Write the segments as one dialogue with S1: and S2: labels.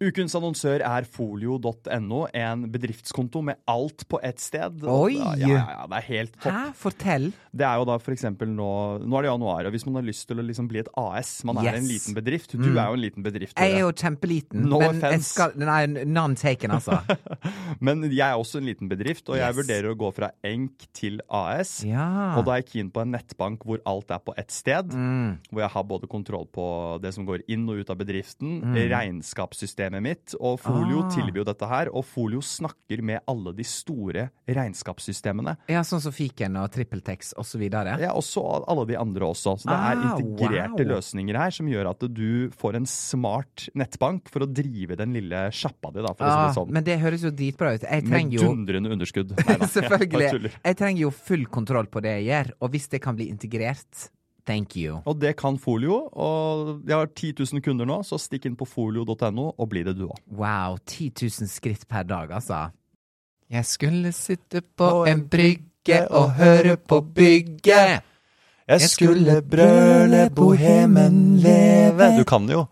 S1: Ukens annonsør er folio.no, en bedriftskonto med alt på ett sted.
S2: Oi!
S1: Ja, ja, ja, det er helt topp.
S2: Hæ? Fortell.
S1: Det er jo da for eksempel nå Nå er det januar, og hvis man har lyst til å liksom bli et AS Man er
S2: Yes. Mm.
S1: en liten bedrift. Du er jo en liten bedrift.
S2: Jeg er
S1: Tore.
S2: jo kjempeliten.
S1: No
S2: men jeg
S1: offense.
S2: skal, nei, none taken, altså.
S1: Men jeg er også en liten bedrift, og jeg
S2: Yes.
S1: vurderer å gå fra enk til AS.
S2: Ja.
S1: Og da er jeg keen på en nettbank hvor alt er på ett sted.
S2: Mm.
S1: Hvor jeg har både kontroll på det som går inn og ut av bedriften, regnskapssystemet mitt. Og Folio
S2: Mm. Ah.
S1: tilbyr jo dette her, og Folio snakker med alle de store regnskapssystemene.
S2: Ja, sånn som Fiken og TrippelTex og så videre.
S1: Ja, og så alle de andre også. Så det er
S2: Ah,
S1: integrerte
S2: wow.
S1: løsninger her som gjør at du får en smart nettbank for å drive den lille sjappa di, da, for
S2: Ah,
S1: å si det sånn.
S2: men det høres jo dritbra ut.
S1: Med
S2: Jeg trenger jo
S1: dundrende underskudd. Nei da, jeg
S2: Selvfølgelig.
S1: tuller.
S2: Jeg trenger jo full kontroll på det jeg gjør, og hvis det kan bli integrert, thank you.
S1: Og det kan Folio. Og jeg har 10 000 kunder nå, så stikk inn på folio.no og bli det du òg.
S2: Wow, 10 000 skritt per dag, altså. Jeg skulle sitte på
S3: På
S2: en brygge og høre på bygget.
S3: Jeg skulle brøle bohemen leve Du kan det jo.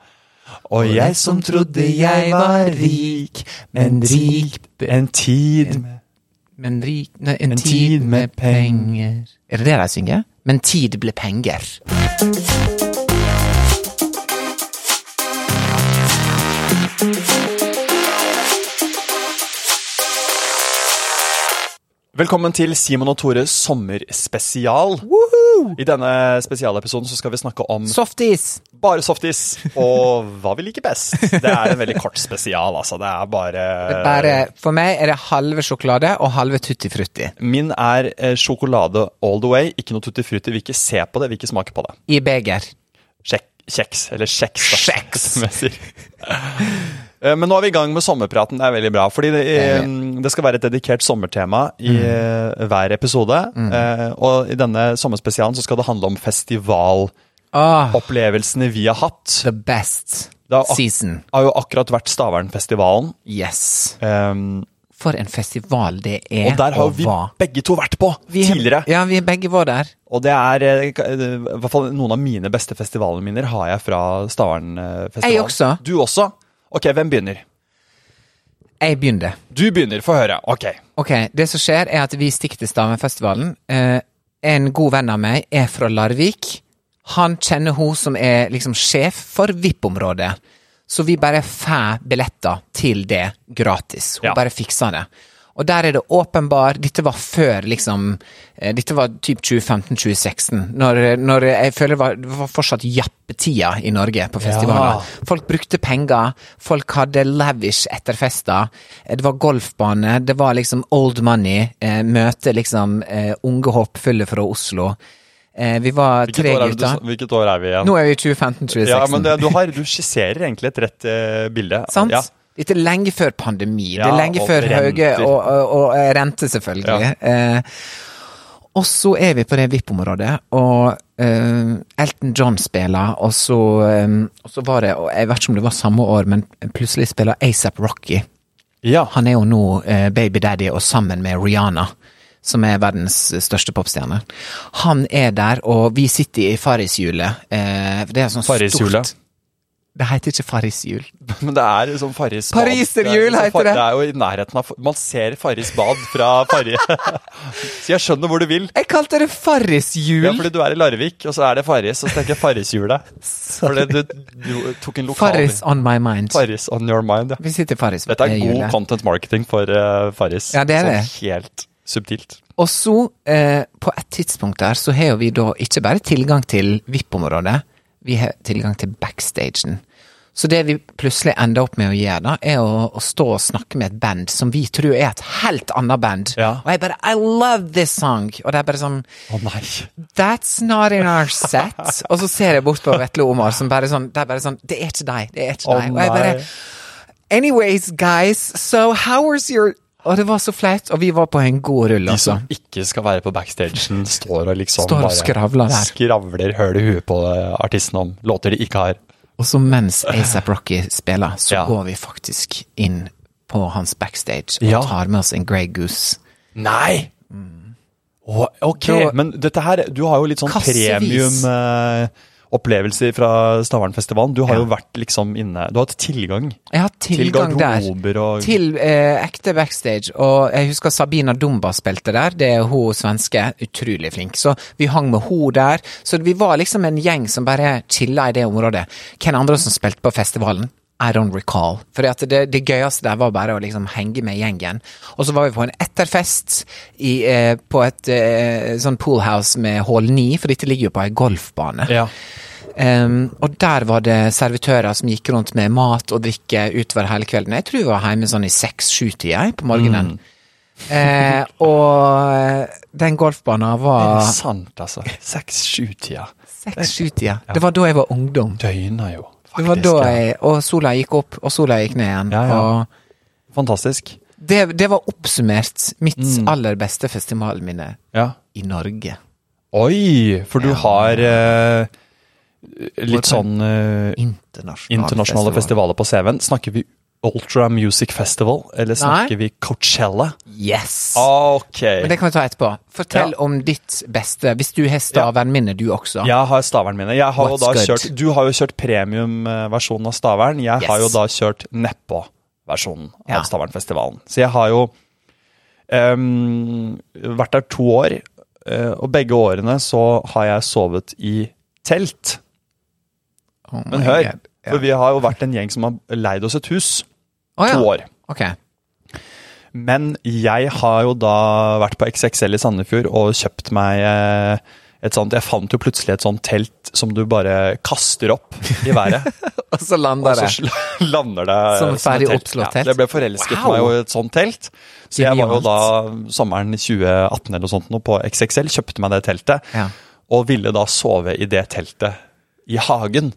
S3: Og jeg som trodde jeg var rik, men rik en tid
S2: Men rik Nei, en,
S3: En
S2: tid,
S3: tid
S2: med
S3: med
S2: penger. Er det det de synger? Men tid ble penger.
S3: Velkommen til Simon og Tore sommerspesial. I denne spesialepisoden så skal vi snakke om
S2: Softis!
S3: bare softis og hva vi liker best. Det er en veldig kort spesial, altså. Det er bare
S2: Bare, for meg er det halve sjokolade og halve tutti frutti.
S3: Min er eh, sjokolade all the way. Ikke noe tutti frutti. Vil ikke se på det, vil ikke smake på det.
S2: I beger.
S3: Sjekk, kjeks, eller kjeks. da,
S2: Kjeks.
S3: som jeg sier. Eh, Men nå er vi i gang med sommerpraten. Det er veldig bra. Fordi det, eh, det skal være et dedikert sommertema i eh, hver episode. Eh, Og i denne sommerspesialen så skal det handle om festivalopplevelsene
S2: Åh,
S3: vi har hatt.
S2: Ah, the best
S3: Det har, ak
S2: season.
S3: har jo akkurat vært Stavernfestivalen.
S2: Yes.
S3: Um,
S2: For en festival det er
S3: og der har jo vi
S2: var.
S3: begge to vært på tidligere.
S2: Ja, vi begge var der.
S3: Og det er eh, ka- eh, i hvert fall noen av mine beste festivalminner har jeg fra Stavernfestivalen.
S2: Jeg også.
S3: Du også? Ok, hvem begynner?
S2: Jeg begynte.
S3: Du begynner, få høre. Ok.
S2: Ok, det som skjer er at vi stikker til Stavenfestivalen. Eh, en god venn av meg er fra Larvik. Han kjenner hun som er liksom sjef for VIP-området. Så vi bare får billetter til det gratis. Hun
S3: Ja.
S2: bare fikser det. Og der er det åpenbar Dette var før, liksom eh, Dette var typ 2015-2016. Når, eh, når jeg føler det var, det var fortsatt jappetida i Norge på festivaler. Folk brukte penger, folk hadde lavish etter fester. Eh, Det var golfbane, det var liksom old money. Eh, møte liksom eh, unge håpfulle fra Oslo. Eh, vi var tre
S3: år er det du,
S2: gutter.
S3: s- hvilket år er vi igjen?
S2: Nå er vi i 2015-2016.
S3: ja, men det, du, har, du skisserer egentlig et rett eh, bilde.
S2: Sant?
S3: Ja.
S2: Dette er lenge før pandemi. det
S3: Ja,
S2: er lenge
S3: og
S2: før høye
S3: renter.
S2: og, og, og eh, rente, selvfølgelig. Eh, og så er vi på det VIP-området, og eh, Elton John spiller, og så, eh, og så var det og Jeg vet ikke om det var samme år, men plutselig spiller ASAP Rocky.
S3: Ja.
S2: Han er jo nå eh, baby daddy og sammen med Rihanna, som er verdens største popstjerne. Han er der, og vi sitter i farrishjulet. Eh, det er sånn
S3: Farrishjulet.
S2: stort Det heter ikke farrishjul.
S3: Men det er sånn Farris bad.
S2: Pariserhjul
S3: Det er- liksom
S2: heter det.
S3: Det er jo i nærheten av Man ser Farris bad fra Farris. så jeg skjønner hvor du vil.
S2: Jeg kalte det farrishjul.
S3: Ja, fordi du er i Larvik, og så er det Farris, og så tenker jeg Farrishjulet. Fordi du, du tok en lokal
S2: Farris on my mind.
S3: Farris on your mind, ja.
S2: Vi sitter i Farris.
S3: Dette er
S2: eh,
S3: god
S2: hjulet.
S3: content marketing for eh, Farris.
S2: Ja, det er
S3: sånn
S2: det.
S3: helt subtilt.
S2: Og så, eh, på et tidspunkt der, så har jo vi da ikke bare tilgang til VIP-området, vi har tilgang til backstagen. Så det vi plutselig ender opp med å gjøre da, er å, å stå og snakke med et band som vi tror er et helt annet band.
S3: Ja.
S2: Og jeg bare I love this song! Og det er bare sånn
S3: Å nei.
S2: That's not in our set. Og så ser jeg bort på Vetle Omar, som bare sånn Det er bare sånn Det er ikke deg. Det er ikke
S3: Å
S2: deg. Og jeg bare
S3: nei.
S2: Anyways, guys, so how was your Og det var så flaut, og vi var på en god rull,
S3: De
S2: altså.
S3: som ikke skal være på backstagen, står og liksom
S2: Står og
S3: bare
S2: skravler der.
S3: Skravler høl i huet på eh, artisten om låter de ikke har.
S2: Og så mens ASAP Rocky spiller, så
S3: Ja.
S2: går vi faktisk inn på hans backstage og
S3: Ja.
S2: tar med oss en Grey Goose.
S3: Nei! Mm. Å, ok,
S2: Da-
S3: men dette her Du har jo litt sånn
S2: Kassevis.
S3: premium eh, opplevelser fra Stavernfestivalen. Du har jo vært liksom inne Du har hatt tilgang
S2: Jeg har
S3: til
S2: tilgang der.
S3: garderober og
S2: Til eh, ekte backstage. Og jeg husker Sabina Dumba spilte der. Det er hun svenske. Utrolig flink. Så vi hang med hun der. Så vi var liksom en gjeng som bare chilla i det området. Hvem andre som spilte på festivalen? I don't recall. For det, det gøyeste der var bare å liksom henge med gjengen. Og så var vi på en etterfest i, eh, på et eh, sånn poolhouse med hall 9, for dette ligger jo på ei golfbane.
S3: Ja.
S2: Ehm, og der var det servitører som gikk rundt med mat og drikke utover hele kvelden. Jeg tror jeg var hjemme sånn i seks-sju-tida jeg, på morgenen.
S3: Mm.
S2: Eh, og den golfbanen
S3: Det
S2: var
S3: er sant, altså. Seks-sju-tida.
S2: seks-sju-tida. Det var da jeg var ungdom.
S3: Døgna jo, faktisk.
S2: Det var da
S3: ja.
S2: jeg, og sola gikk opp, og sola gikk ned igjen.
S3: Ja, ja.
S2: Og
S3: Fantastisk.
S2: det, det var oppsummert mitt
S3: Mm.
S2: aller beste festivalminne
S3: Ja.
S2: i Norge.
S3: Oi! For du har eh, litt sånn eh,
S2: Internasjonal
S3: internasjonale
S2: festival.
S3: festivaler på CV-en. Snakker vi Ultra Music Festival, eller snakker vi Coachella?
S2: Yes!
S3: Ok.
S2: Men det kan vi ta etterpå.
S3: Ah.
S2: Fortell
S3: Ja.
S2: om ditt beste, hvis du har stavern minne, du også.
S3: Jeg har stavern mine. Jeg har jo
S2: What's
S3: da
S2: good?
S3: kjørt, du har jo kjørt premiumversjonen av stavern. Jeg har jo
S2: Yes.
S3: da kjørt nedpå-versjonen
S2: Ja.
S3: av Stavernfestivalen. Så jeg har jo ehm, vært der to år, eh, og begge årene så har jeg sovet i telt.
S2: Oh my
S3: Men hør,
S2: God. Ja.
S3: for vi har jo vært en gjeng som har leid oss et hus
S2: Å, ja.
S3: to år.
S2: Ok.
S3: Men jeg har jo da vært på XXL i Sandefjord og kjøpt meg eh, et sånt Jeg fant jo plutselig et sånt telt som du bare kaster opp i været.
S2: Og så lander
S3: og så
S2: det.
S3: sl- lander det
S2: Som et ferdig
S3: telt.
S2: oppslått
S3: Ja,
S2: telt.
S3: så jeg ble forelsket
S2: Wow.
S3: meg i et sånt telt. Så jeg var jo da sommeren 2018 eller noe sånt nå på XXL, kjøpte meg det teltet.
S2: Ja.
S3: Og ville da sove i det teltet i hagen.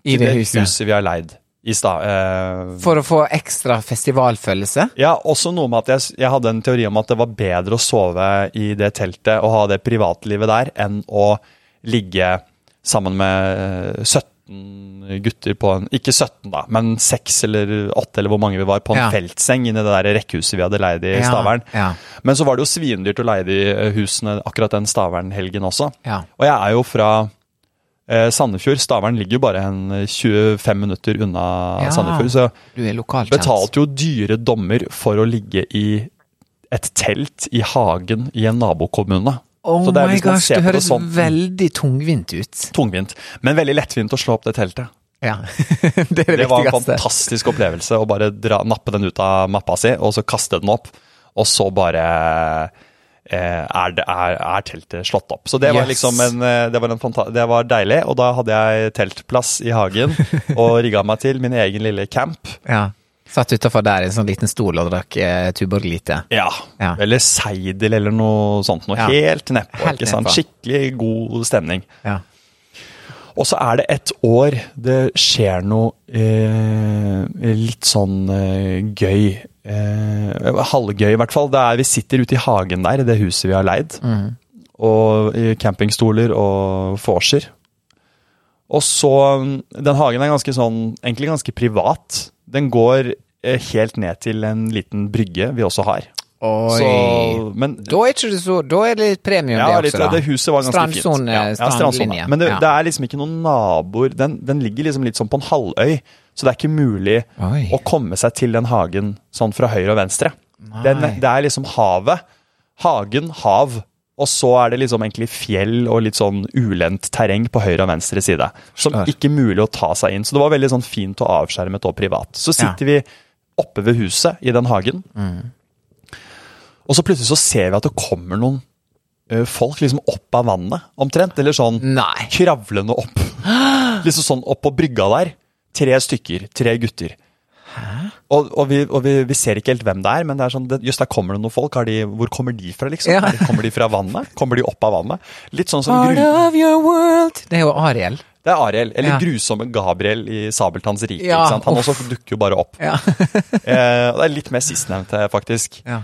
S2: I det huset.
S3: huset vi har leid i stad. Eh,
S2: For å få ekstra festivalfølelse.
S3: Ja, også noe med at jeg, jeg hadde en teori om at det var bedre å sove i det teltet og ha det privatlivet der, enn å ligge sammen med eh, 17 gutter på en Ikke 17, da, men 6 eller 8 eller hvor mange vi var, på en
S2: Ja.
S3: feltseng inni det der rekkehuset vi hadde leid i
S2: Ja,
S3: Stavern.
S2: ja.
S3: Men så var det jo svindyrt å leie de eh, husene akkurat den Stavern-helgen også.
S2: Ja.
S3: Og jeg er jo fra eh, Sandefjord. Stavern ligger jo bare en eh, 25 minutter unna
S2: Ja.
S3: Sandefjord, så
S2: Du er lokalkjent.
S3: betalte jo dyre dommer for å ligge i et telt i hagen i en nabokommune.
S2: Oh
S3: Så det er
S2: my
S3: hvis man
S2: gosh,
S3: ser
S2: det
S3: på det
S2: høres
S3: sånn-
S2: veldig tungvint ut.
S3: Tungvint, men veldig lettvint å slå opp det teltet.
S2: Ja. det er det,
S3: Det var en
S2: viktigste.
S3: fantastisk opplevelse å bare dra, nappe den ut av mappa si, og så kaste den opp. Og så bare eh, er, det, er, er teltet slått opp. Så det var
S2: Yes.
S3: liksom en, eh, det var en fanta det var deilig, og da hadde jeg teltplass i hagen og rigga meg til min egen lille camp.
S2: Ja. Satt utafor der i en sånn liten stol og drakk eh, Tuborg Lite.
S3: Ja.
S2: Ja.
S3: Eller seidel eller noe sånt. Noe
S2: Ja.
S3: helt nedpå.
S2: Helt
S3: ikke sant?
S2: nedpå.
S3: Skikkelig god stemning.
S2: Ja.
S3: Og så er det et år det skjer noe eh, litt sånn eh, gøy. Eh, halvgøy, i hvert fall. Det er, vi sitter ute i hagen der, i det huset vi har leid.
S2: Mhm.
S3: Og i campingstoler og vorser. Og så Den hagen er ganske sånn, egentlig ganske privat. Den går eh, helt ned til en liten brygge vi også har.
S2: Oi.
S3: Så, men
S2: Da er, ikke det så, da er det litt premium,
S3: ja,
S2: det
S3: litt,
S2: også, da.
S3: det huset var ganske
S2: Strandsone-
S3: fint. Ja, ja,
S2: strandlinje.
S3: Men det,
S2: Ja.
S3: det er liksom ikke noen naboer. Den, den ligger liksom litt sånn på en halvøy, så det er ikke mulig
S2: Oi.
S3: å komme seg til den hagen sånn fra høyre og venstre.
S2: Nei.
S3: Den, det er liksom havet. Hagen, hav. Og så er det liksom egentlig fjell og litt sånn ulendt terreng på høyre og venstre side. Som
S2: Forstår.
S3: ikke er mulig å ta seg inn. Så det var veldig sånn fint og avskjermet og privat. Så sitter vi oppe ved huset i den hagen. Og så plutselig så ser vi at det kommer noen eh, folk liksom opp av vannet, omtrent. Eller sånn
S2: Nei.
S3: kravlende opp. Liksom sånn opp på brygga der. Tre stykker. Tre gutter. Og, og, vi, og vi, vi ser ikke helt hvem det er, men det er sånn, det, just der kommer det noen folk. Har de, hvor kommer de fra, liksom?
S2: Ja.
S3: Er de- Kommer de fra vannet? Kommer de opp av vannet? Litt sånn som
S2: Part
S3: gru,
S2: of your world. Det er jo Ariel.
S3: Det er Ariel. Eller
S2: Ja.
S3: grusomme Gabriel i Sabeltanns rike.
S2: Ja,
S3: ikke sant? Han
S2: uff.
S3: også dukker jo bare opp.
S2: Ja.
S3: Eh, og det er litt mer sistnevnte, faktisk.
S2: ja.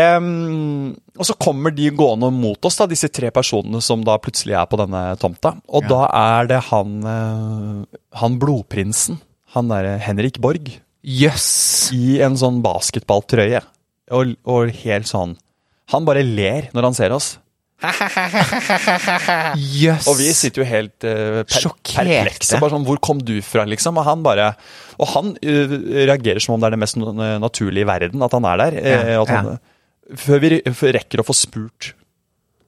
S3: Em, og så kommer de gående mot oss, da, disse tre personene som da plutselig er på denne tomta. Og da er det han, eh, han blodprinsen, han derre Henrik Borg,
S2: Jøss.
S3: i en sånn basketballtrøye. Og, og helt sånn Han bare ler når han ser oss.
S2: Jøss.
S3: Og vi sitter jo helt eh, per
S2: Sjokkerte.
S3: perplekse. Bare sånn, hvor kom du fra, liksom? Og han bare Og han eh, reagerer som om det er det mest na- naturlige i verden at han er der. eh,
S2: Ja,
S3: at han,
S2: ja.
S3: Før vi re- rekker å få spurt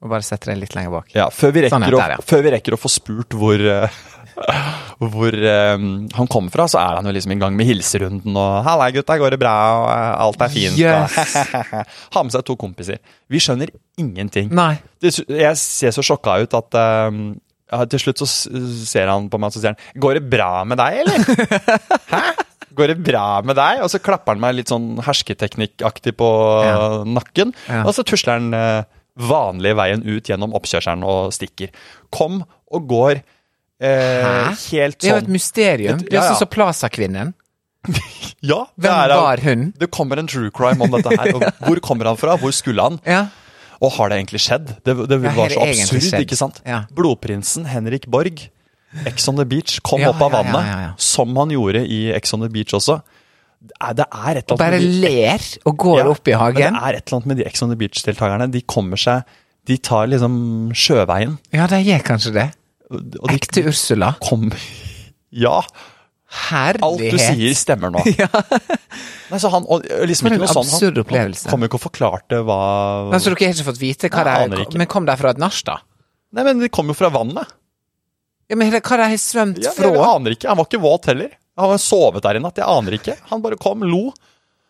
S2: Og bare setter deg litt lenger bak.
S3: Ja, før vi rekker,
S2: Sånn er det der, ja.
S3: å, før vi rekker å få spurt hvor eh, hvor eh, han kommer fra, så er han jo liksom i gang med hilserunden og 'Halla, gutta, går det bra?' og eh, 'Alt er fint'. Og, ha med seg to kompiser. Vi skjønner ingenting.
S2: Nei.
S3: Det, jeg ser så sjokka ut at eh, ja, til slutt så s- ser han på meg og så sier han 'Går det bra med deg, eller?' Hæ? Går det bra med deg? Og så klapper han meg litt sånn hersketeknikkaktig på
S2: Ja.
S3: nakken.
S2: Ja.
S3: Og så tusler han eh, vanlig veien ut gjennom oppkjørselen og stikker. Kom og går eh,
S2: Hæ?
S3: helt
S2: Det er jo et
S3: sånn.
S2: mysterium.
S3: Et-
S2: Det er
S3: ja,
S2: sånn
S3: ja.
S2: som Plaza-kvinnen.
S3: Ja, det
S2: Hvem
S3: er,
S2: var hun?
S3: Det kommer en true crime om dette her. Og hvor kommer han fra? Hvor skulle han?
S2: Ja.
S3: Og har det egentlig skjedd? Det, det
S2: Ja, har
S3: var
S2: det
S3: så
S2: egentlig
S3: absurd,
S2: skjedd?
S3: ikke sant?
S2: Ja.
S3: Blodprinsen Henrik Borg, Ex on the Beach, kom
S2: Ja,
S3: opp av
S2: ja, ja,
S3: vannet.
S2: ja, ja.
S3: Som han gjorde i Ex on the Beach også. Det er, det er et eller annet
S2: Bare
S3: med de-
S2: ler og går
S3: Ja,
S2: opp i
S3: Men
S2: hagen.
S3: det er et eller annet med de Ex on the Beach-deltakerne. De kommer seg De tar liksom sjøveien.
S2: Ja, de gjør kanskje det.
S3: Og de
S2: Ekte Ursula.
S3: kommer Ja! Alt du
S2: Herlighet.
S3: sier, stemmer nå. Nei, så han, og liksom ikke
S2: For en
S3: noe sånn, han,
S2: absurd
S3: han
S2: opplevelse.
S3: kom jo ikke og forklarte hva
S2: Men, så dere har ikke fått vite hva
S3: Jeg
S2: de
S3: aner ikke.
S2: Men kom de fra et nach, da?
S3: Nei, men de kom jo fra vannet.
S2: Ja, men hva de har svømt
S3: Ja, jeg
S2: fra?
S3: aner ikke. Han var ikke våt heller. Han har sovet der i natt. Jeg aner ikke. Han bare kom, lo.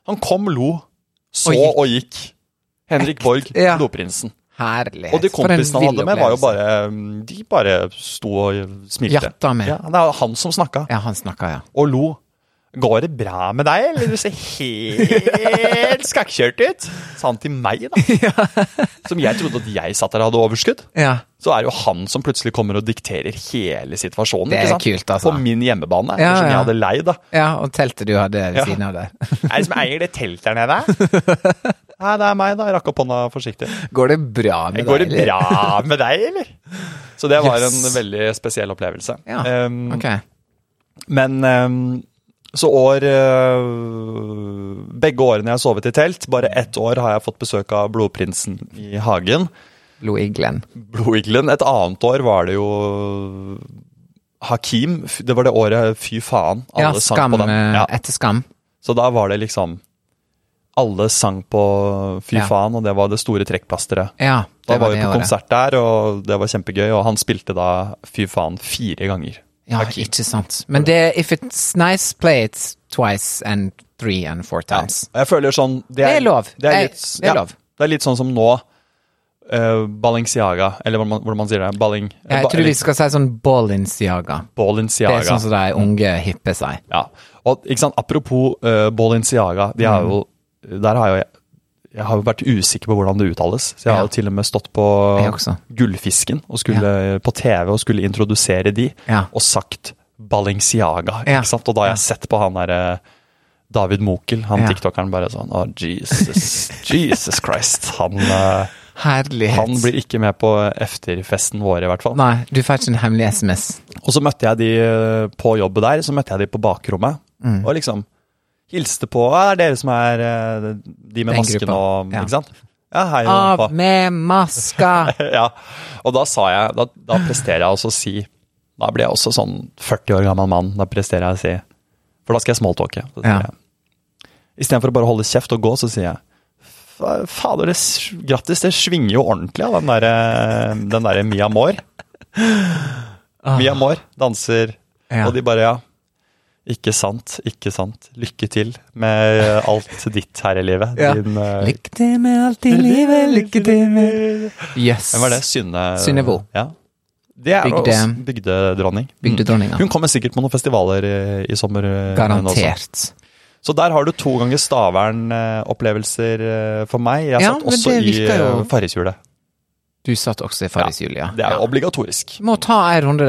S3: Han kom, lo, så
S2: Og gikk.
S3: og gikk. Henrik Borg,
S2: ja.
S3: blodprinsen.
S2: Herlighet.
S3: Og de
S2: For en
S3: kompisene han hadde
S2: vill
S3: med, var jo bare
S2: opplevelse.
S3: De bare sto og smilte.
S2: Jatta med.
S3: Ja, det er jo han som snakka,
S2: Ja, han snakka, ja.
S3: og lo. Går det bra med deg, eller du ser helt skakkjørt ut? Sa han til meg, da. Som jeg trodde at jeg satt der og hadde overskudd.
S2: ja.
S3: Så er det jo han som plutselig kommer og dikterer hele situasjonen.
S2: Det er
S3: ikke sant?
S2: kult, altså.
S3: På min hjemmebane,
S2: Ja,
S3: som jeg
S2: ja.
S3: hadde leid. da.
S2: Ja, og teltet du hadde ved
S3: Ja.
S2: siden av der.
S3: Er det som eier det teltet der nede? Nei, det er meg, da. Jeg rakk opp hånda forsiktig.
S2: Går det bra med
S3: Går det
S2: deg? eller?
S3: bra med deg, eller? Så det var
S2: Yes.
S3: en veldig spesiell opplevelse.
S2: Ja,
S3: Ehm,
S2: Ok.
S3: Men ehm, så år øh, Begge årene jeg har sovet i telt, bare ett år har jeg fått besøk av Blodprinsen i hagen.
S2: Blodiglen.
S3: Blodiglen. Et annet år var det jo Hakim. F- Det var det året Fy faen. Alle
S2: Ja,
S3: sang
S2: skam
S3: på den.
S2: eh,
S3: Ja.
S2: etter skam.
S3: Så da var det liksom Alle sang på Fy
S2: Ja.
S3: faen, og det var det store trekkplasteret.
S2: Ja,
S3: Da
S2: det
S3: var
S2: var
S3: vi
S2: det
S3: på
S2: året.
S3: konsert der, og det var kjempegøy. Og han spilte da Fy faen fire ganger.
S2: Ja,
S3: Hakim.
S2: ikke sant. Men det er If it's nice, play it twice and three and four
S3: Ja.
S2: times.
S3: Og jeg føler sånn Det
S2: Det er lov.
S3: Det er
S2: Det er-
S3: litt,
S2: det er
S3: ja,
S2: lov.
S3: det er litt sånn som nå. eh, Balenciaga, eller hvordan man, hvordan man sier det. Balling,
S2: Jeg
S3: ba-
S2: tror vi skal si sånn Balenciaga. Det
S3: Balenciaga.
S2: er sånn som de unge hipper seg.
S3: Ja. Og ikke sant, apropos eh, Balenciaga, de har jo, der har jo jeg, jeg har jo vært usikker på hvordan det uttales. Så jeg har
S2: Ja.
S3: jo til og med stått på
S2: Jeg også.
S3: Gullfisken og skulle, på TV og skulle introdusere de,
S2: Ja.
S3: og sagt Balenciaga.
S2: Ja.
S3: Ikke sant? Og da har jeg sett på han derre David Mokel, han
S2: Ja.
S3: tiktokeren, bare sånn Å, Jesus, Jesus Christ. Han, eh,
S2: Herlighet.
S3: han blir ikke med på eh, efterfesten vår, i hvert fall.
S2: Nei, du får ikke en hemmelig SMS.
S3: Og så møtte jeg de eh, på jobbet der, så møtte jeg de på bakrommet.
S2: Mm.
S3: Og liksom hilste på «Ah, Det er dere som er eh, de med
S2: Den
S3: masken
S2: gruppa,
S3: og
S2: ja. Ah,
S3: Ikke sant? Ja, hei og
S2: Av
S3: hå».
S2: med maska!
S3: ja. Og da sa jeg Da, da presterer jeg også å si Da blir jeg også sånn 40 år gammel mann. Da presterer jeg å si For da skal jeg smalltalke. Da sier
S2: Ja.
S3: jeg, Istedenfor å bare holde kjeft og gå, så sier jeg «Fa- Fader, det, s- grattis, det svinger jo ordentlig av den derre den der Mia Moore.
S2: Ah.
S3: Mia Moore danser,
S2: Ja.
S3: og de bare ja. Ikke sant, ikke sant. Lykke til med eh, alt ditt her i livet.
S2: Ja.
S3: Din, eh,
S2: Lykke til med alt i livet, lykke til med Yes.
S3: Hvem var det? Synne...
S2: Synnevo.
S3: Ja. Det er
S2: Bygde-
S3: også bygdedronning. Mm.
S2: Bygdedronninga.
S3: Hun kommer sikkert på noen festivaler i, i sommer. eh, hun også.
S2: Garantert.
S3: Så der har du to ganger Stavern-opplevelser eh, for meg. Jeg
S2: Ja,
S3: satt
S2: men
S3: også
S2: det
S3: i
S2: virker jo-
S3: eh, Farrishjulet.
S2: Du satt også i Farris Julia.
S3: Det er jo obligatorisk.
S2: Må ta ei runde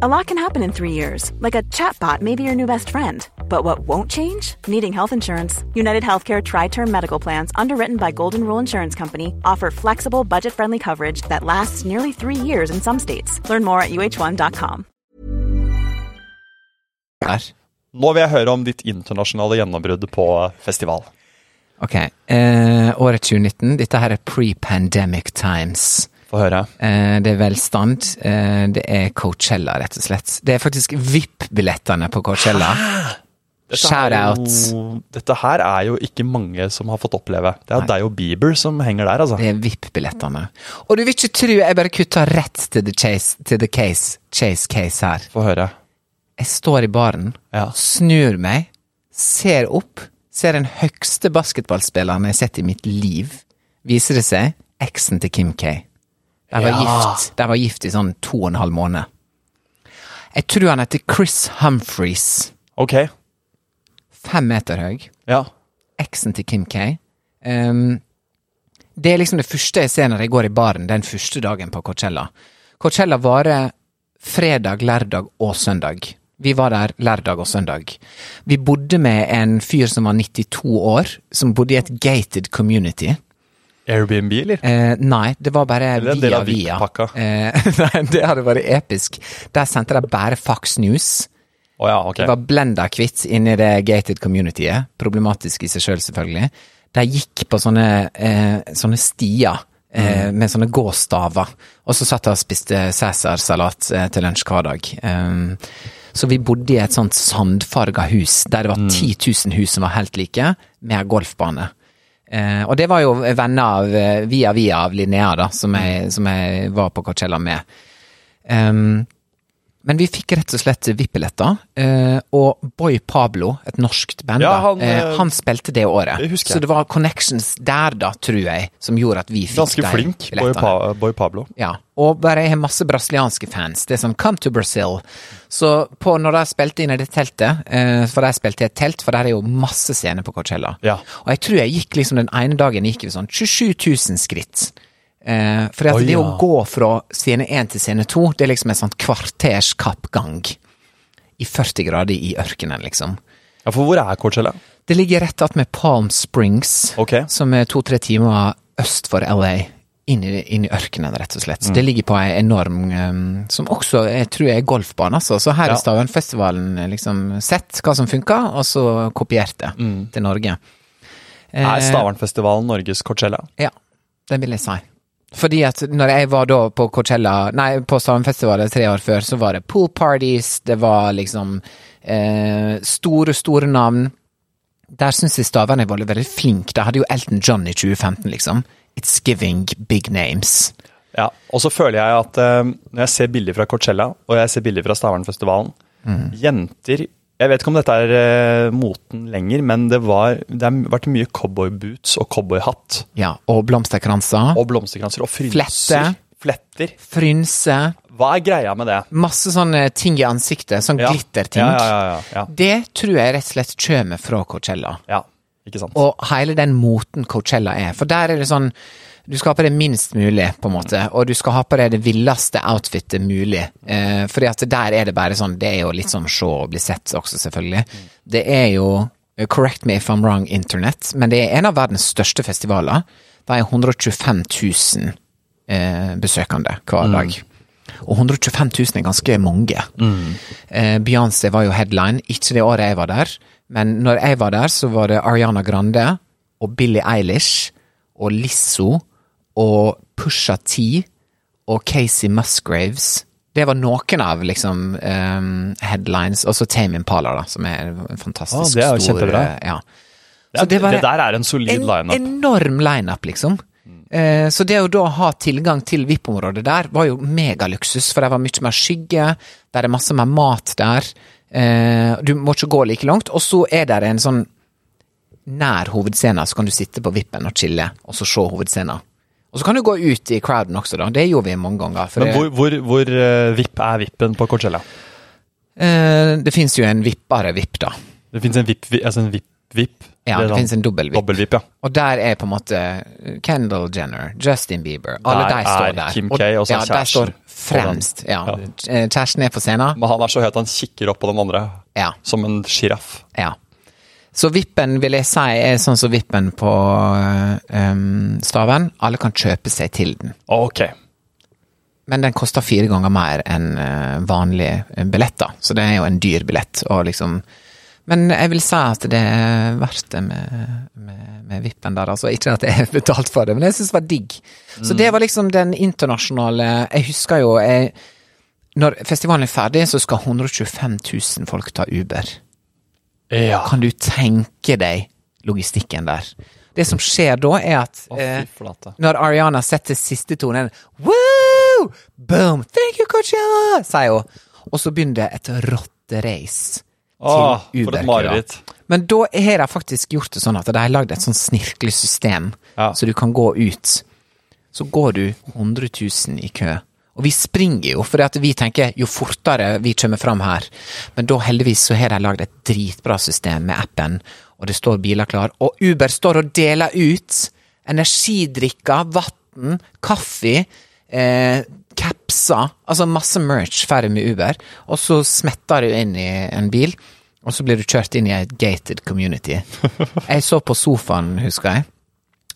S4: A lot can happen in three years, like a chatbot may be your new best friend. But what won't change? Needing health insurance. United Healthcare Tri Term Medical Plans, underwritten by Golden Rule Insurance Company, offer flexible, budget friendly coverage that lasts nearly three years in some states. Learn more at uh1.com.
S2: Der.
S3: Nå vil jeg høre om ditt internasjonale gjennombrudd på festival.
S2: Ok. Eh, året 2019. Dette her er pre-pandemic times.
S3: Få høre.
S2: Eh, det er velstand. Eh, det er Coachella, rett og slett. Det er faktisk VIP-billettene på Coachella.
S3: her er
S2: Shout-out.
S3: jo- Dette her er jo ikke mange som har fått oppleve. Det er deg og Bieber som henger der, altså.
S2: Det er VIP-billettene. Og du vil ikke tro jeg bare kutta rett til the chase, til the case, chase case her.
S3: Få høre.
S2: Jeg står i baren,
S3: Ja.
S2: snur meg, ser opp, ser den høyeste basketballspilleren jeg har sett i mitt liv. Viser det seg eksen til Kim K. De var, gift. De var gift i sånn to og en halv måned. Jeg tror han heter Chris Humphries.
S3: Ok.
S2: Fem meter høy.
S3: Ja.
S2: Eksen til Kim K. Ehm, det er liksom det første jeg ser når jeg går i baren den første dagen på Coachella. Coachella varer fredag, lørdag og søndag. Vi var der lørdag og søndag. Vi bodde med en fyr som var 92 år, som bodde i et gated community.
S3: Airbnb, eller?
S2: Eh, nei, det var bare
S3: Eller en del
S2: via
S3: av
S2: via.
S3: VIP-pakka.
S2: Eh, nei, det hadde vært episk. Der sendte de bare Fox News.
S3: Å ja, ok.
S2: Det var blenda kvitt inni det gated communityet. Problematisk i seg sjøl, selv, selvfølgelig. De gikk på sånne, eh, sånne stier. eh, Med sånne gåstaver. Og så satt jeg og spiste Cæsar-salat eh, til lunsj hver dag. Um, så vi bodde i et sånt sandfarga hus, der det var 10 000 hus som var helt like, med ei golfbane. Eh, og det var jo venner av eh, Via Via av Linnea, da, som jeg, som jeg var på Coachella med. Ehm, men vi fikk rett og slett VIP-billetter, eh, og Boy Pablo, et norskt band,
S3: Ja,
S2: da,
S3: han,
S2: eh,
S3: eh,
S2: han spilte det året.
S3: det husker jeg.
S2: Så det var connections der, da, tror jeg, som gjorde at vi fikk
S3: Ganske
S2: de
S3: flink, Boy,
S2: billettene.
S3: pa Boy Pablo.
S2: Ja, og bare jeg har masse brasilianske fans. Det er sånn 'come to Brazil'. Så på, når de spilte inn i det teltet, eh, for de spilte i et telt, for der er jo masse scener på Coachella.
S3: Ja.
S2: Og jeg tror jeg gikk liksom den ene dagen gikk vi sånn 27 000 skritt. Eh, for at
S3: Oi,
S2: det
S3: ja.
S2: å gå fra scene 1 til scene 2, det er liksom en sånn kvarters kappgang. I 40 grader i ørkenen, liksom.
S3: Ja, For hvor er Coachella?
S2: Det ligger rett attmed Palm Springs,
S3: Ok.
S2: som er to-tre timer øst for LA. Inn i, inn i ørkenen, rett og slett.
S3: Mm.
S2: Det ligger på ei enorm ehm, Som også jeg tror er golfbane, altså. Så her
S3: Ja.
S2: i Stavernfestivalen eh, liksom sett hva som funka, og så kopiert det
S3: Mm.
S2: til Norge. Eh,
S3: Er Stavernfestivalen Norges Coachella?
S2: Ja, det vil jeg si. Fordi at når jeg var da på Coachella, nei, på Stavernfestivalen tre år før, så var det pool parties, det var liksom eh, store, store navn. Der syns jeg Stavern var veldig flink. Da hadde jo Elton John i 2015, liksom. It's giving big names.
S3: Ja, og så føler jeg at eh, når jeg ser bilder fra Coachella, og jeg ser bilder fra Stavernfestivalen
S2: Mm.
S3: Jenter Jeg vet ikke om dette er eh, moten lenger, men det, var, det har vært mye cowboyboots og cowboyhatt.
S2: Ja, og blomsterkranser.
S3: Og blomsterkranser og frynser.
S2: Flette.
S3: Fletter.
S2: Frynse.
S3: Hva er greia med det?
S2: Masse sånne ting i ansiktet, sånn
S3: Ja.
S2: glitterting.
S3: Ja, ja, ja, ja, ja.
S2: Det tror jeg rett og slett kommer fra Coachella.
S3: ja. Ikke sant.
S2: Og hele den moten Coachella er. For der er det sånn Du skal ha på deg minst mulig, på en måte. Og du skal ha på deg det villeste outfitet mulig. Eh, fordi at der er det bare sånn Det er jo litt sånn se og bli sett også, selvfølgelig. Det er jo eh, Correct me if I'm wrong, Internett, men det er en av verdens største festivaler. Det er 125 000 eh, besøkende hver dag. Og 125 000 er ganske mange. Eh, Beyoncé var jo headline, ikke det året jeg var der, men når jeg var der, så var det Ariana Grande og Billie Eilish og Lizzo og Pusha T og Casey Musgraves. Det var noen av liksom eh, headlines, og så Tame Impala, da, som er en
S3: Ah,
S2: fantastisk
S3: det er jo
S2: stor
S3: kjempebra.
S2: eh, Ja.
S3: det,
S2: så
S3: er-
S2: det var-
S3: det der er en solid
S2: En
S3: lineup.
S2: enorm lineup, liksom. Eh, Så det å da ha tilgang til VIP-området der, var jo megaluksus, for det var mye mer skygge, der er masse mer mat der, eh, du må ikke gå like langt, og så er det en sånn nær hovedscenen, så kan du sitte på vippen og chille, og så se hovedscenen. Og så kan du gå ut i crowden også, da, det gjorde vi mange ganger. For
S3: Men
S2: det-
S3: hvor, hvor, hvor eh, vipp er vippen på Coachella?
S2: eh, det finnes jo en vippare vipp, da.
S3: Det fins en vipp vi- altså en VIP VIP.
S2: Ja, det
S3: Eller
S2: finnes en dobbel VIP.
S3: Dobbel-VIP, ja.
S2: Og der er på en måte Kendal Jenner, Justin Bieber
S3: Der
S2: Alle de står
S3: er
S2: der.
S3: Kim K og så
S2: ja,
S3: er
S2: de står
S3: kjæresten.
S2: fremst. Ja. Eh,
S3: Ja.
S2: Kjæresten er på scenen.
S3: Men han er så høy at han kikker opp på den andre
S2: Ja.
S3: som en sjiraff.
S2: Ja. Så vippen vil jeg si er sånn som vippen på ehm, staven. Alle kan kjøpe seg til den.
S3: Ok.
S2: Men den koster fire ganger mer enn eh, vanlige eh, billetter, så det er jo en dyr billett. Og liksom men jeg vil si at det er verdt det med, med, med vippen der, altså. Ikke at jeg har betalt for det, men jeg syns det var digg. Så
S3: Mm.
S2: det var liksom den internasjonale Jeg husker jo jeg, Når festivalen er ferdig, så skal 125 000 folk ta Uber.
S3: Ja.
S2: Kan du tenke deg logistikken der? Det som skjer da, er at
S3: Å,
S2: eh,
S3: fy flate.
S2: når Ariana setter siste tonen Woo! Boom! Thank you, Coachella! Sier hun. Og så begynner det et rotterace
S3: Åh,
S2: til
S3: for et
S2: Uber-køer.
S3: mareritt.
S2: Men da har de faktisk gjort det sånn at de har lagd et sånn snirkelig system,
S3: Ja.
S2: så du kan gå ut. Så går du 100 000 i kø. Og vi springer jo, for vi tenker jo fortere vi kommer fram her. Men da heldigvis så har de lagd et dritbra system med appen, og det står biler klar. Og Uber står og deler ut energidrikker, vann, kaffe, eh, capser. Altså masse merch ferdig med Uber. Og så smetter du inn i en bil, og så blir du kjørt inn i et gated community. Jeg så på sofaen, husker jeg.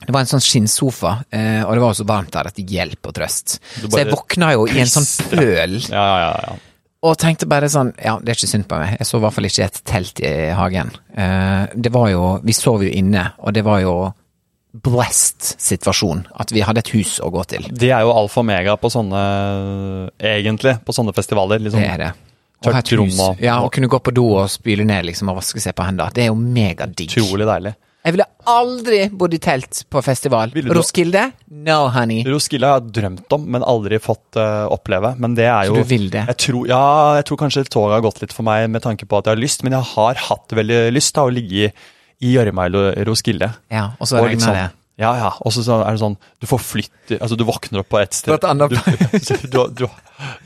S2: Det var en sånn skinnsofa, eh, og det var jo så varmt der at det hjelp og trøst. Så jeg
S3: bare
S2: våkna jo i en sånn pøl,
S3: Ja, ja, ja. ja.
S2: og tenkte bare sånn Ja, det er ikke synd på meg. Jeg så i hvert fall ikke et telt i hagen. Eh, det var jo Vi sov jo inne, og det var jo blessed situasjon. At vi hadde et hus å gå til.
S3: Det er jo alfa og mega på sånne Egentlig, på sånne festivaler. Liksom.
S2: Det er det. Å ha et
S3: Tørt rom
S2: hus.
S3: og-
S2: Ja, og kunne gå på do og spyle ned liksom, og vaske seg på hendene. Det er jo megadigg.
S3: Utrolig deilig.
S2: Jeg ville aldri bodd i telt på festival.
S3: Ville du-
S2: Roskilde? No, honey.
S3: Roskilde har jeg drømt om, men aldri fått eh, oppleve. Men det er
S2: Så
S3: jo
S2: du vil det?
S3: Jeg tror, ja, jeg tror kanskje toget har gått litt for meg med tanke på at jeg har lyst, men jeg har hatt veldig lyst til å ligge i- i gjørma i Lo- Roskilde.
S2: Ja, og så
S3: litt
S2: regner
S3: sånn,
S2: det.
S3: Ja, ja. Og så så er det sånn Du får flytte Altså, du våkner opp på ett sted.
S2: På et annet
S3: du, du, du,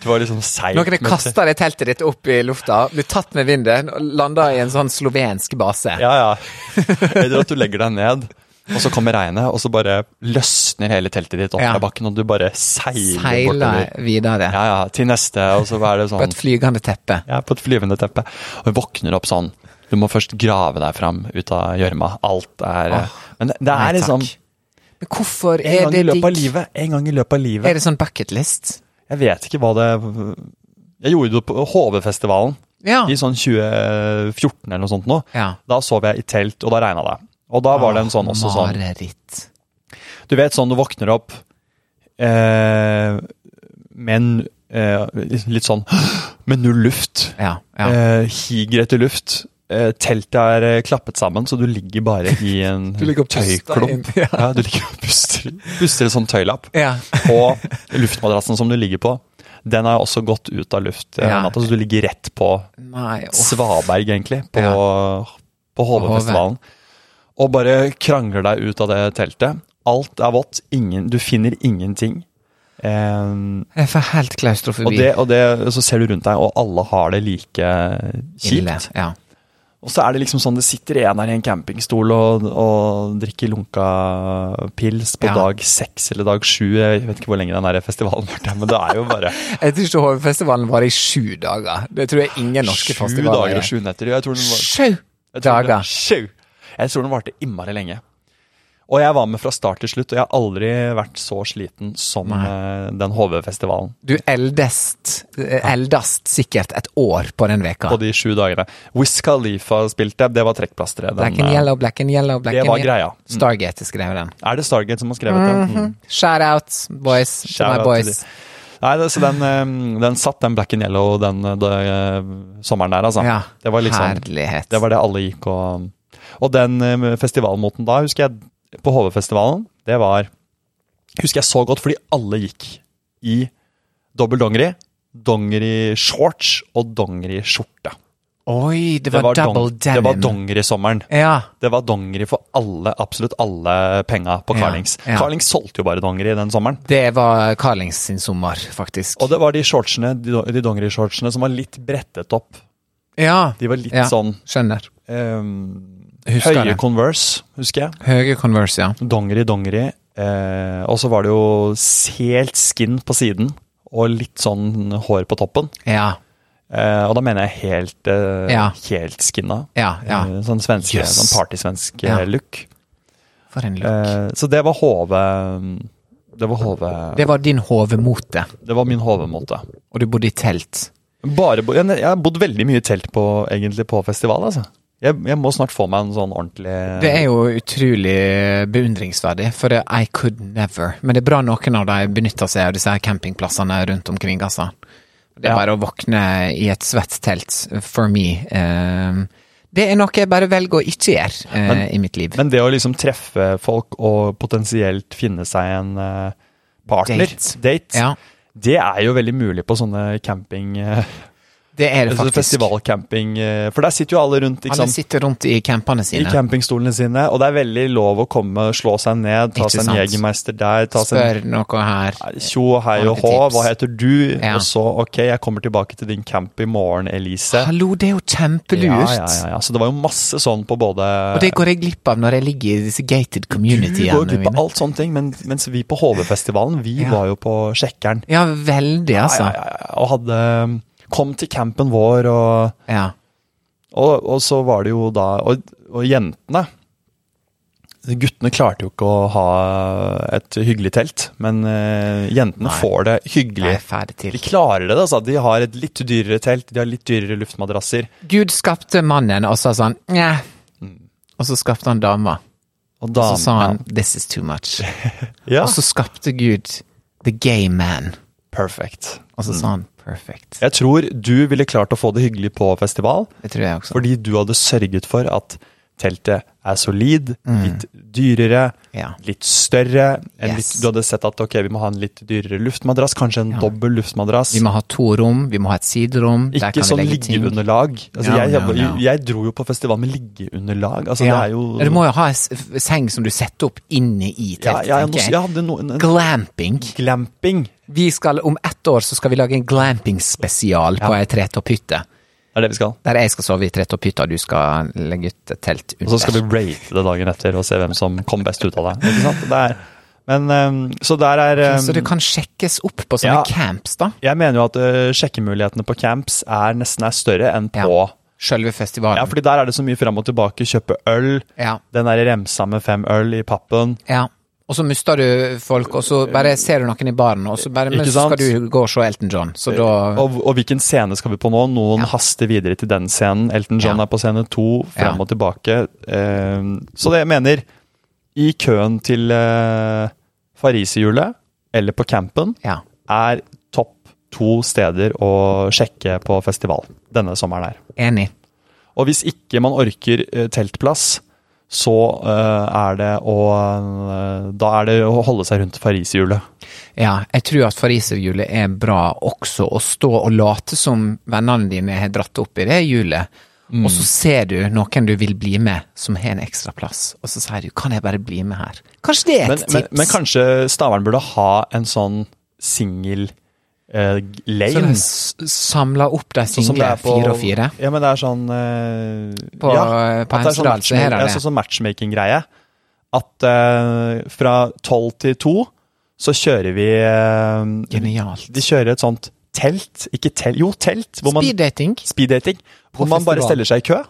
S3: du var liksom seig.
S2: Noen har
S3: men-
S2: kasta det teltet ditt opp i lufta, blir tatt med vinden og landa i en sånn slovensk base.
S3: Ja, ja. Eller at du legger deg ned, og så kommer regnet, og så bare løsner hele teltet ditt opp
S2: Ja.
S3: fra bakken, og du bare seiler
S2: Seiler
S3: bortover.
S2: videre
S3: Ja, ja. Til neste, og så er det
S2: på et
S3: sånn
S2: flygende teppe.
S3: Ja, på et flyvende teppe. Og jeg våkner opp sånn. Du må først grave deg fram ut av gjørma. Alt er
S2: Åh,
S3: Men det, det
S2: Ah. nei,
S3: er liksom
S2: takk. Men hvorfor
S3: en
S2: er
S3: gang i
S2: det
S3: løpet av
S2: digg?
S3: livet. En gang i løpet av
S2: Er
S3: livet.
S2: det sånn bucketlist?
S3: Jeg vet ikke hva det Jeg gjorde det på HV-festivalen
S2: Ja.
S3: i sånn 2014 eller noe sånt nå.
S2: Ja.
S3: Da sov jeg i telt, og da regna det. Og da var det en sånn
S2: Ah,
S3: også sånn
S2: Mareritt.
S3: Du vet sånn du våkner opp eh, med en eh, litt- Litt sånn med null luft.
S2: Ja. ja.
S3: Eh, higer etter luft. Eh, teltet er eh, klappet sammen, så du ligger bare i en
S2: ligger og puster inn,
S3: tøyklump.
S2: ja.
S3: Ja. du ligger og puster, puster en sånn tøylapp.
S2: Ja.
S3: Og luftmadrassen som du ligger på, den har også gått ut av luft, eh,
S2: Ja.
S3: natta, så du ligger rett på
S2: Nei, uff.
S3: Svaberg, egentlig, på, på
S2: HV.
S3: HV-festivalen. Og bare krangler deg ut av det teltet. Alt er vått. Ingen, du finner ingenting. Eh,
S2: Jeg får helt klaustrofobi.
S3: og, det, og det, så ser du rundt deg, og alle har det like
S2: Ille,
S3: kjipt.
S2: Ja.
S3: Og så er det liksom sånn det sitter en her i en campingstol og, og drikker lunka pils på
S2: Ja.
S3: dag seks eller dag sju. Jeg vet ikke hvor lenge den her festivalen har vært, der, men det er jo bare
S2: Jeg tror ikke HV-festivalen varer i sju dager. Det tror jeg ingen norske
S3: sju
S2: festivaler
S3: dager
S2: gjør.
S3: og sju netter. Jeg tror den var,
S2: Sju
S3: jeg tror den,
S2: dager!
S3: sju. Jeg tror den varte innmari lenge. Og jeg var med fra start til slutt, og jeg har aldri vært så sliten som eh, den HV-festivalen
S2: Du eldest, eh, eldast sikkert et år på den veka.
S3: på de sju dagene. Wiz Khalifa spilte, det var trekkplasteret.
S2: Black
S3: den,
S2: and
S3: eh,
S2: yellow, black and yellow, black
S3: Det
S2: and
S3: var
S2: yellow.
S3: greia. Mm.
S2: Stargate skrev den.
S3: Er det Stargate som har skrevet den?
S2: Mhm.
S3: Mm.
S2: Shout out, boys. to
S3: Shout
S2: my
S3: out
S2: boys.
S3: til de. Nei, det, så den, eh, den satt, den black and yellow, den, eh, det, eh, sommeren der, altså.
S2: Ja,
S3: det var liksom,
S2: herlighet.
S3: Det var det alle gikk og Og den eh, festivalmoten da, husker jeg, på HV-festivalen, det var Husker jeg så godt, fordi alle gikk i dobbel dongeri, dongeri-shorts og dongeri-skjorte.
S2: Oi, det var, double
S3: dong- det var
S2: denim.
S3: dongerisommeren.
S2: Ja,
S3: Det var dongeri for alle, absolutt alle penga på
S2: Ja,
S3: Carlings.
S2: ja.
S3: Carlings solgte jo bare dongeri den sommeren.
S2: det var Carlings sin sommer, faktisk.
S3: Og det var de shortsene, de, de dongeri-shortsene som var litt brettet opp.
S2: ja,
S3: De var litt
S2: ja,
S3: sånn
S2: skjønner.
S3: ehm,
S2: Husker
S3: Høye
S2: det.
S3: Converse, husker jeg.
S2: Høye Converse, ja.
S3: Dongeri, dongeri. Eh, og så var det jo helt skin på siden, og litt sånn hår på toppen.
S2: Ja,
S3: Eh, og da mener jeg helt, eh,
S2: Ja.
S3: helt skinna.
S2: ja. ja.
S3: Eh, sånn svenske,
S2: Yes.
S3: sånn partysvensk
S2: Ja.
S3: eh, look.
S2: For en look.
S3: Eh, så det var HV Det var HV
S2: Det var din hovemote,
S3: Det var min HV-måte.
S2: og du bodde i telt.
S3: Bare bo, jeg, jeg har bodd veldig mye i telt på, egentlig på festival, altså. Jeg, jeg må snart få meg en sånn ordentlig
S2: Det er jo utrolig beundringsverdig, for det I could never. Men det er bra noen av de benytter seg av disse her campingplassene rundt omkring, altså. Det er
S3: Ja.
S2: bare å våkne i et svett telt, for me. Eh, det er noe jeg bare velger å ikke gjøre eh,
S3: Men-
S2: i mitt liv.
S3: Men det å liksom treffe folk og potensielt finne seg en eh, partner,
S2: Date.
S3: date,
S2: ja,
S3: det er jo veldig mulig på sånne camping... eh,
S2: det er det
S3: altså
S2: faktisk.
S3: festivalcamping. eh, for der sitter jo alle rundt, ikke
S2: Alle
S3: sant?
S2: sitter rundt i campene
S3: I
S2: sine.
S3: campingstolene sine, og det er veldig lov å komme, slå seg ned, ta
S2: Ikke
S3: seg en
S2: sant?
S3: jegermeister der, ta seg en
S2: Spør noe her.
S3: Tjo, hei og
S2: Ordentlig
S3: hå,
S2: tips.
S3: hva heter du?
S2: Ja.
S3: Og så, ok, jeg kommer tilbake til din camp i morgen, Elise.
S2: Hallo, det er jo kjempelurt!
S3: Ja, ja, ja, ja. Så det var jo masse sånn på både
S2: Og det går jeg glipp av når jeg ligger i disse gated
S3: Du går
S2: communityene
S3: glipp av
S2: mine.
S3: alt sånne ting, men, mens vi på HV-festivalen, vi
S2: Ja.
S3: var jo på Sjekkeren.
S2: Ja, veldig, altså.
S3: Ja, ja, ja, ja. Og hadde um, Kom til campen vår, og,
S2: Ja.
S3: og, og så var det jo da Og, og jentene Guttene klarte jo ikke å ha et hyggelig telt, men eh, jentene
S2: Nei.
S3: får det hyggelig.
S2: Jeg er ferdig
S3: De
S2: til.
S3: klarer det, altså. De har et litt dyrere telt, de har litt dyrere luftmadrasser.
S2: Gud skapte mannen, og så sa han Njæ.
S3: Mm.
S2: Og så skapte han dama.
S3: Og
S2: Og så sa
S3: damene-
S2: han This is too much.
S3: ja.
S2: Og så skapte Gud the gay man.
S3: Perfect.
S2: Og så sa han perfect.
S3: Jeg tror du ville klart å få det hyggelig på festival,
S2: Det tror jeg også.
S3: fordi du hadde sørget for at teltet er solid, litt dyrere,
S2: Mm. Ja.
S3: litt større. En litt,
S2: Yes.
S3: du hadde sett at ok, vi må ha en litt dyrere luftmadrass, kanskje en dobbel luftmadrass.
S2: Vi må ha to rom, vi må ha et siderom. Der
S3: Ikke
S2: kan
S3: sånn
S2: vi legge ting.
S3: liggeunderlag. Altså,
S2: No,
S3: jeg, jeg,
S2: no, no.
S3: jeg dro jo på festival med liggeunderlag. Altså,
S2: Ja.
S3: det er jo
S2: Ja, Du må jo ha en s- seng som du setter opp inne
S3: ja,
S2: i teltet,
S3: jeg, jeg,
S2: tenker jeg.
S3: jeg hadde noen en
S2: Glamping.
S3: glamping.
S2: Vi skal, om ett år så skal vi lage en glamping-spesial på ei tretopphytte.
S3: Det er det vi skal.
S2: Der jeg skal sove i tretopphytta, og du skal legge ut et telt under.
S3: Og så skal vi rate det dagen etter og se hvem som kom best ut av det. Ikke sant? det er, men, ehm, så der er ehm,
S2: Så det kan sjekkes opp på
S3: Ja.
S2: sånne camps, da.
S3: Jeg mener jo at eh, sjekkemulighetene på camps er nesten er større enn på ja.
S2: Sjølve festivalen.
S3: fordi der er det så mye fram og tilbake. Kjøpe øl.
S2: Ja.
S3: Den der remsa med fem øl i pappen.
S2: Ja. Og så mister du folk, og så bare ser du noen i baren, og så bare, men
S3: Ikke
S2: så
S3: sant?
S2: skal du gå og se Elton John. Så da
S3: Og, og hvilken scene skal vi på nå? Noen haster videre til den scenen. Elton John
S2: Ja.
S3: er på scene to, fram
S2: Ja.
S3: og tilbake. Ehm, så det jeg mener I køen til uh, Fariserhjulet, eller på campen,
S2: Ja.
S3: er topp to steder å sjekke på festival denne sommeren her.
S2: Enig.
S3: Og hvis ikke man orker eh, teltplass, så eh, er det å eh, Da er det å holde seg rundt Pariserhjulet.
S2: Ja, jeg tror at pariserhjulet er bra også å stå og late som vennene dine har dratt opp i det hjulet,
S3: Mm.
S2: og så ser du noen du vil bli med som har en ekstra plass, og så sier du 'kan jeg bare bli med her'? Kanskje det er
S3: Men,
S2: et
S3: men,
S2: tips?
S3: men kanskje Stavern burde ha en sånn singel eh,
S2: Så
S3: lane?
S2: de s- samler opp de
S3: Sånn som
S2: single fire og fire?
S3: Ja, men det er sånn eh,
S2: På-
S3: ja,
S2: på
S3: at det er sånn
S2: Hemsedal, så her er
S3: matchmaking- ja,
S2: det.
S3: Sånn som matchmaking-greie. At eh, fra tolv til to så kjører vi eh,
S2: Genialt.
S3: De kjører et sånt telt, ikke telt, jo telt, hvor man
S2: Speeddating?
S3: speeddating. Hvor man bare steller
S2: festival.
S3: seg i kø.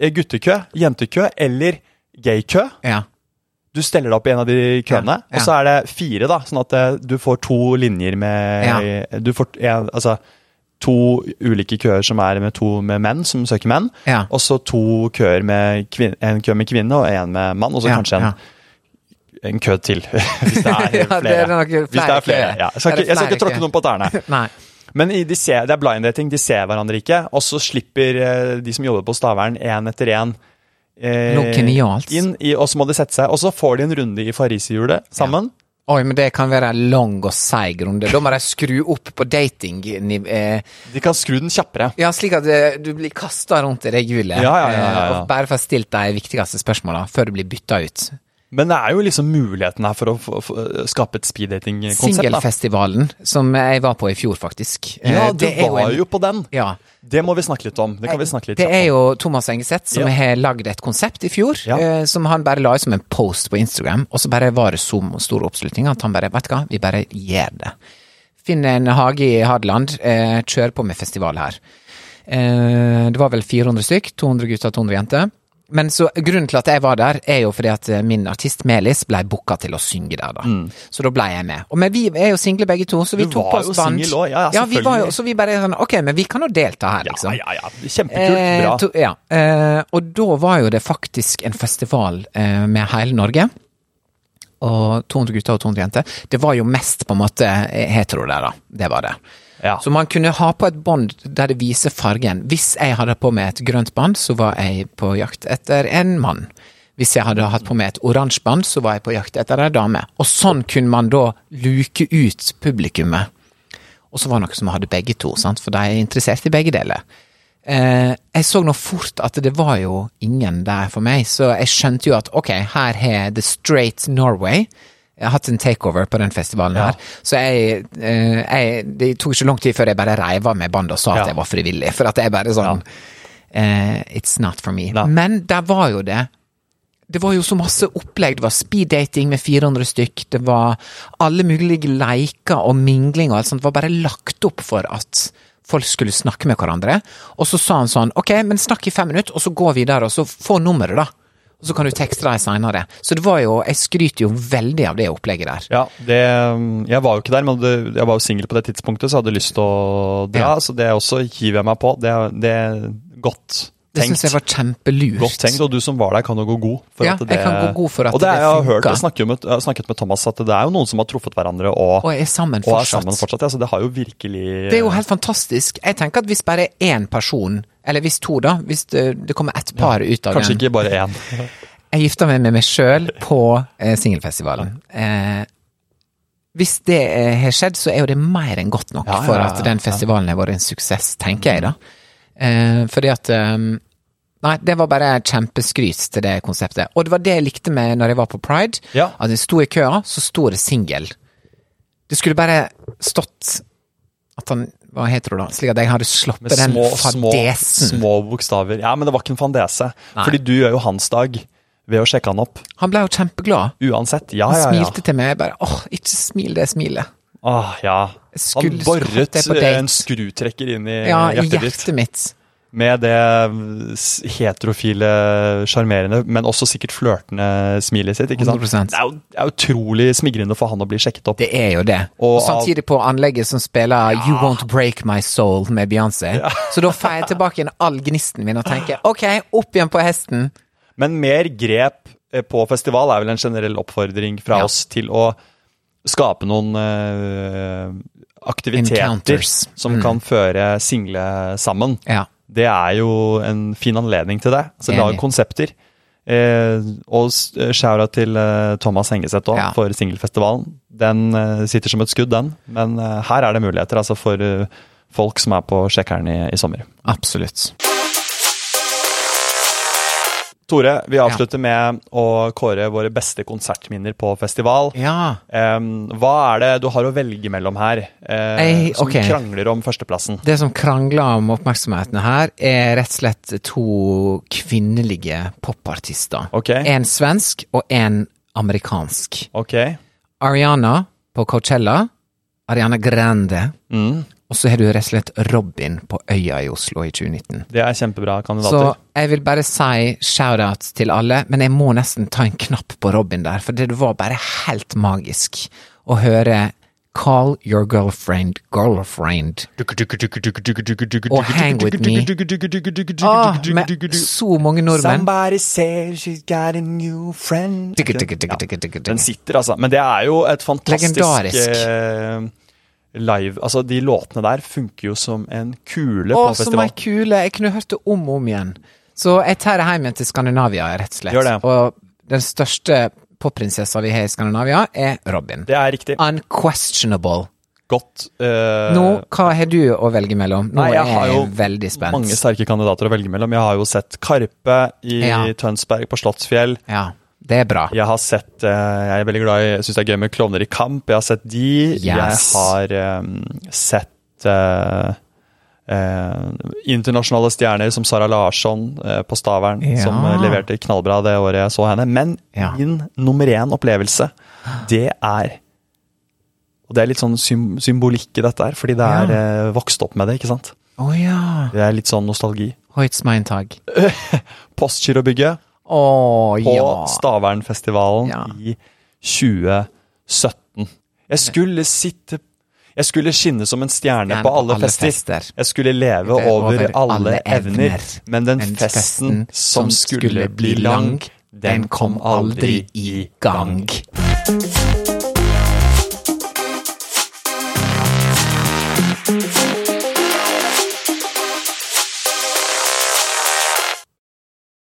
S3: Eh, Guttekø, jentekø eller gaykø.
S2: Ja.
S3: Du steller deg opp i en av de køene,
S2: Ja, ja.
S3: og så er det fire, da. Sånn at eh, du får to linjer med Du får en, altså to ulike køer som er med to med menn som søker menn.
S2: Ja.
S3: Og så to køer med kvin- en kø med kvinne og en med mann, og så
S2: Ja,
S3: kanskje en,
S2: ja.
S3: en kø til. Hvis det er
S2: Ja,
S3: flere.
S2: det er nok flere
S3: Hvis det er flere.
S2: køer.
S3: Ja. Jeg skal
S2: Det er
S3: ikke, jeg skal
S2: flere
S3: ikke tråkke
S2: køer.
S3: noen på tærne.
S2: Nei.
S3: Men i- de ser, det er blind dating, de ser hverandre ikke, og så slipper eh, de som jobber på Stavern, én etter én eh,
S2: Noe genialt.
S3: inn, i, og så må de sette seg. Og så får de en runde i pariserhjulet sammen.
S2: Oi, men det kan være en lang og seig runde. Da må de skru opp på dating... niv- Eh,
S3: De kan skru den kjappere.
S2: Ja, slik at eh, du blir kasta rundt i det hjulet.
S3: Ja, ja, ja, ja,
S2: eh,
S3: ja.
S2: Og bare får stilt de viktigste spørsmåla før du blir bytta ut.
S3: Men det er jo liksom muligheten her for å få- få- skape et speeddating-konsept. da.
S2: Singelfestivalen, som jeg var på i fjor, faktisk.
S3: Ja,
S2: Eh,
S3: du
S2: er
S3: var
S2: en-
S3: jo på den!
S2: ja. Eh,
S3: Det må vi snakke litt om. Det kan vi snakke litt
S2: Det
S3: kjapt
S2: er
S3: om.
S2: jo Thomas Engeseth som
S3: Ja.
S2: har lagd et konsept i fjor,
S3: Ja.
S2: eh, som han bare la ut som en post på Instagram, og så bare var det så stor oppslutning at han bare, vet du hva, vi bare gjør det. Finn en hage i Hadeland, eh, kjør på med festival her. Eh, det var vel 400 stykk, 200 gutter, 200 jenter. Men så, grunnen til at jeg var der, er jo fordi at eh, min artist Melis blei booka til å synge der, da. Så da blei jeg med. Og men vi er jo single begge to, så vi
S3: Mm. Du
S2: tok
S3: var
S2: på oss
S3: jo
S2: band.
S3: single også, ja, ja,
S2: vi var jo,
S3: selvfølgelig.
S2: så vi bare sånn, ok, men vi kan jo delta her, liksom.
S3: Ja, ja, ja. Kjempekult. Bra.
S2: Eh, to, ja. eh, og da var jo det faktisk en festival eh, med hele Norge. Og 200 gutter og 200 jenter. Det var jo mest på en måte eh, hetero der, da. Det var det.
S3: Ja.
S2: Så man kunne ha på et bånd der det viser fargen. Hvis jeg hadde på meg et grønt bånd, så var jeg på jakt etter en mann. Hvis jeg hadde hatt på meg et oransje bånd, så var jeg på jakt etter ei dame. Og sånn kunne man da luke ut publikummet. Og så var det noen som hadde begge to, sant? for de er interessert i begge deler. Eh, jeg så nå fort at det var jo ingen der for meg, så jeg skjønte jo at ok, her har The Straight Norway jeg har hatt en takeover på den festivalen her. Så jeg, eh, jeg Det tok ikke lang tid før jeg bare reiv av meg bandet og sa
S3: Ja.
S2: at jeg var frivillig. For at jeg bare sånn eh, It's not for me.
S3: Nei.
S2: Men der var jo det det var jo så masse opplegg. Det var speeddating med 400 stykk. Det var alle mulige leker og mingling og alt sånt. Det var bare lagt opp for at folk skulle snakke med hverandre. Og så sa han sånn Ok, men snakk i fem minutter, og så går vi der, og så få nummeret, da. Og så kan du tekste deg seinere. Så det var jo Jeg skryter jo veldig av det opplegget der.
S3: Ja, det, jeg var jo ikke der, men det, jeg var jo singel på det tidspunktet, så jeg hadde lyst til å dra.
S2: Ja.
S3: Så det også hiver jeg meg på. Det, er- det er godt
S2: Det
S3: tenkt.
S2: syns jeg var kjempelurt.
S3: Godt tenkt, og du som var der, kan jo gå god for
S2: Ja,
S3: at det
S2: jeg kan gå god for at
S3: Og det,
S2: det
S3: er- jeg har hørt,
S2: funka.
S3: jeg snakket, jo med, jeg har snakket med Thomas at det er jo noen som har truffet hverandre og,
S2: Og er sammen
S3: og er
S2: fortsatt.
S3: sammen fortsatt. Ja, så det har jo virkelig
S2: Det er jo helt fantastisk. Jeg tenker at hvis bare én person, eller hvis to, da, hvis det, det kommer ett par ut av
S3: Kanskje
S2: den
S3: ikke bare én.
S2: Jeg gifta meg med meg sjøl på eh, singelfestivalen. Eh, hvis det eh, har skjedd, så er jo det mer enn godt nok
S3: Ja, ja,
S2: for
S3: ja,
S2: at
S3: ja. Mm.
S2: den festivalen har vært en suksess, tenker jeg da. Eh, fordi at eh, Nei, det var bare kjempeskryt til det konseptet. Og det var det jeg likte med når jeg var på Pride.
S3: Ja.
S2: At jeg sto i køa, så sto det singel. Det skulle bare stått at han var hetero, da, slik at jeg hadde
S3: Med
S2: sluppet den
S3: små, små,
S2: fadesen.
S3: små bokstaver. Ja, men det var ikke en fandese.
S2: Nei.
S3: Fordi du gjør jo hans dag ved å sjekke han opp.
S2: Han ble jo kjempeglad.
S3: Uansett. Ja,
S2: Han
S3: ja, ja.
S2: smilte til meg. Jeg bare åh, ikke smil det smilet.
S3: Åh, Ah, ja. Han
S2: Skulle hatt
S3: borret
S2: deg på date.
S3: en skrutrekker inn i
S2: Ja, i
S3: hjertet ditt.
S2: eh, hjertet mitt.
S3: Med det s- heterofile, sjarmerende, men også sikkert flørtende smilet sitt. ikke sant?
S2: 100%.
S3: Det er jo det er utrolig smigrende for han å bli sjekket opp.
S2: Det er jo det.
S3: Og
S2: Og,
S3: av-
S2: samtidig på anlegget som spiller You Won't Break My Soul med Beyoncé. Så da får jeg tilbake igjen all gnisten min og tenker ok, opp igjen på hesten.
S3: Men mer grep eh, på festival er vel en generell oppfordring fra
S2: Ja.
S3: oss til å skape noen eh, aktiviteter
S2: Encounters. Mm.
S3: som kan føre single sammen.
S2: Ja.
S3: Det er jo en fin anledning til det. Så lag
S2: Enig.
S3: konsepter. Eh, og s- eh, shout-out til eh, Thomas Hengeseth også,
S2: Ja.
S3: for singelfestivalen. Den eh, sitter som et skudd, den. Men eh, her er det muligheter altså for eh, folk som er på sjekkeren i, i sommer.
S2: Absolutt.
S3: Tore, vi avslutter med å kåre våre beste konsertminner på festival.
S2: Ja.
S3: Em, hva er det du har å velge mellom her, eh,
S2: Ei,
S3: som
S2: ok.
S3: krangler om førsteplassen?
S2: Det som krangler om oppmerksomheten her, er rett og slett to kvinnelige popartister.
S3: Ok.
S2: En svensk og en amerikansk.
S3: Ok.
S2: Ariana på Coachella. Ariana Grande. Og så har du rett og slett Robin på Øya i Oslo i 2019.
S3: Det er kjempebra kandidater.
S2: Så jeg vil bare si shout-out til alle, men jeg må nesten ta en knapp på Robin der, for det var bare helt magisk å høre Call your girlfriend girlfriend. Og hang with me. Ah, med så mange nordmenn.
S3: Somebody said she's got a new friend.
S2: Digga, digga, digga, digga, digga, digga.
S3: Den sitter, altså. Men det er jo et fantastisk
S2: Legendarisk.
S3: eh, live Altså, de låtene der funker jo som en kule
S2: Å,
S3: på
S2: som
S3: festival.
S2: ei kule! Jeg kunne hørt det om og om igjen. Så jeg tar det hjem igjen til Skandinavia, rett og slett.
S3: Gjør det.
S2: Og den største popprinsessa vi har i Skandinavia, er Robin.
S3: Det er riktig.
S2: Unquestionable.
S3: Godt. eh,
S2: Ah. Nå, hva har du å velge mellom? Nå
S3: Nei, jeg
S2: er
S3: har
S2: jeg
S3: jo
S2: veldig spent.
S3: mange sterke kandidater å velge mellom. Jeg har jo sett Karpe i
S2: Ja.
S3: Tønsberg, på Slottsfjell.
S2: ja. Det er bra.
S3: Jeg har sett eh, Jeg er veldig glad i Jeg syns det er gøy med klovner i kamp. Jeg har sett de. Jeg
S2: Yes.
S3: har eh, sett eh, eh, internasjonale stjerner som Sara Larsson eh, på Stavern,
S2: Ja.
S3: som eh, leverte knallbra det året jeg så henne. Men
S2: Ja.
S3: min nummer én opplevelse, det er Og det er litt sånn sym symbolikk i dette her, fordi det er eh, vokst opp med det, ikke sant?
S2: Å ja.
S3: Det er litt sånn nostalgi.
S2: Hoitsmeintag.
S3: Postgirobygget
S2: Å
S3: på
S2: ja.
S3: Stavernfestivalen
S2: Ja.
S3: i 2017. Jeg skulle sitte Jeg skulle skinne som en stjerne på alle, fester. Jeg skulle leve
S2: Over
S3: over, alle,
S2: alle
S3: evner.
S2: evner.
S3: Men den festen, som skulle bli lang, den kom aldri i gang.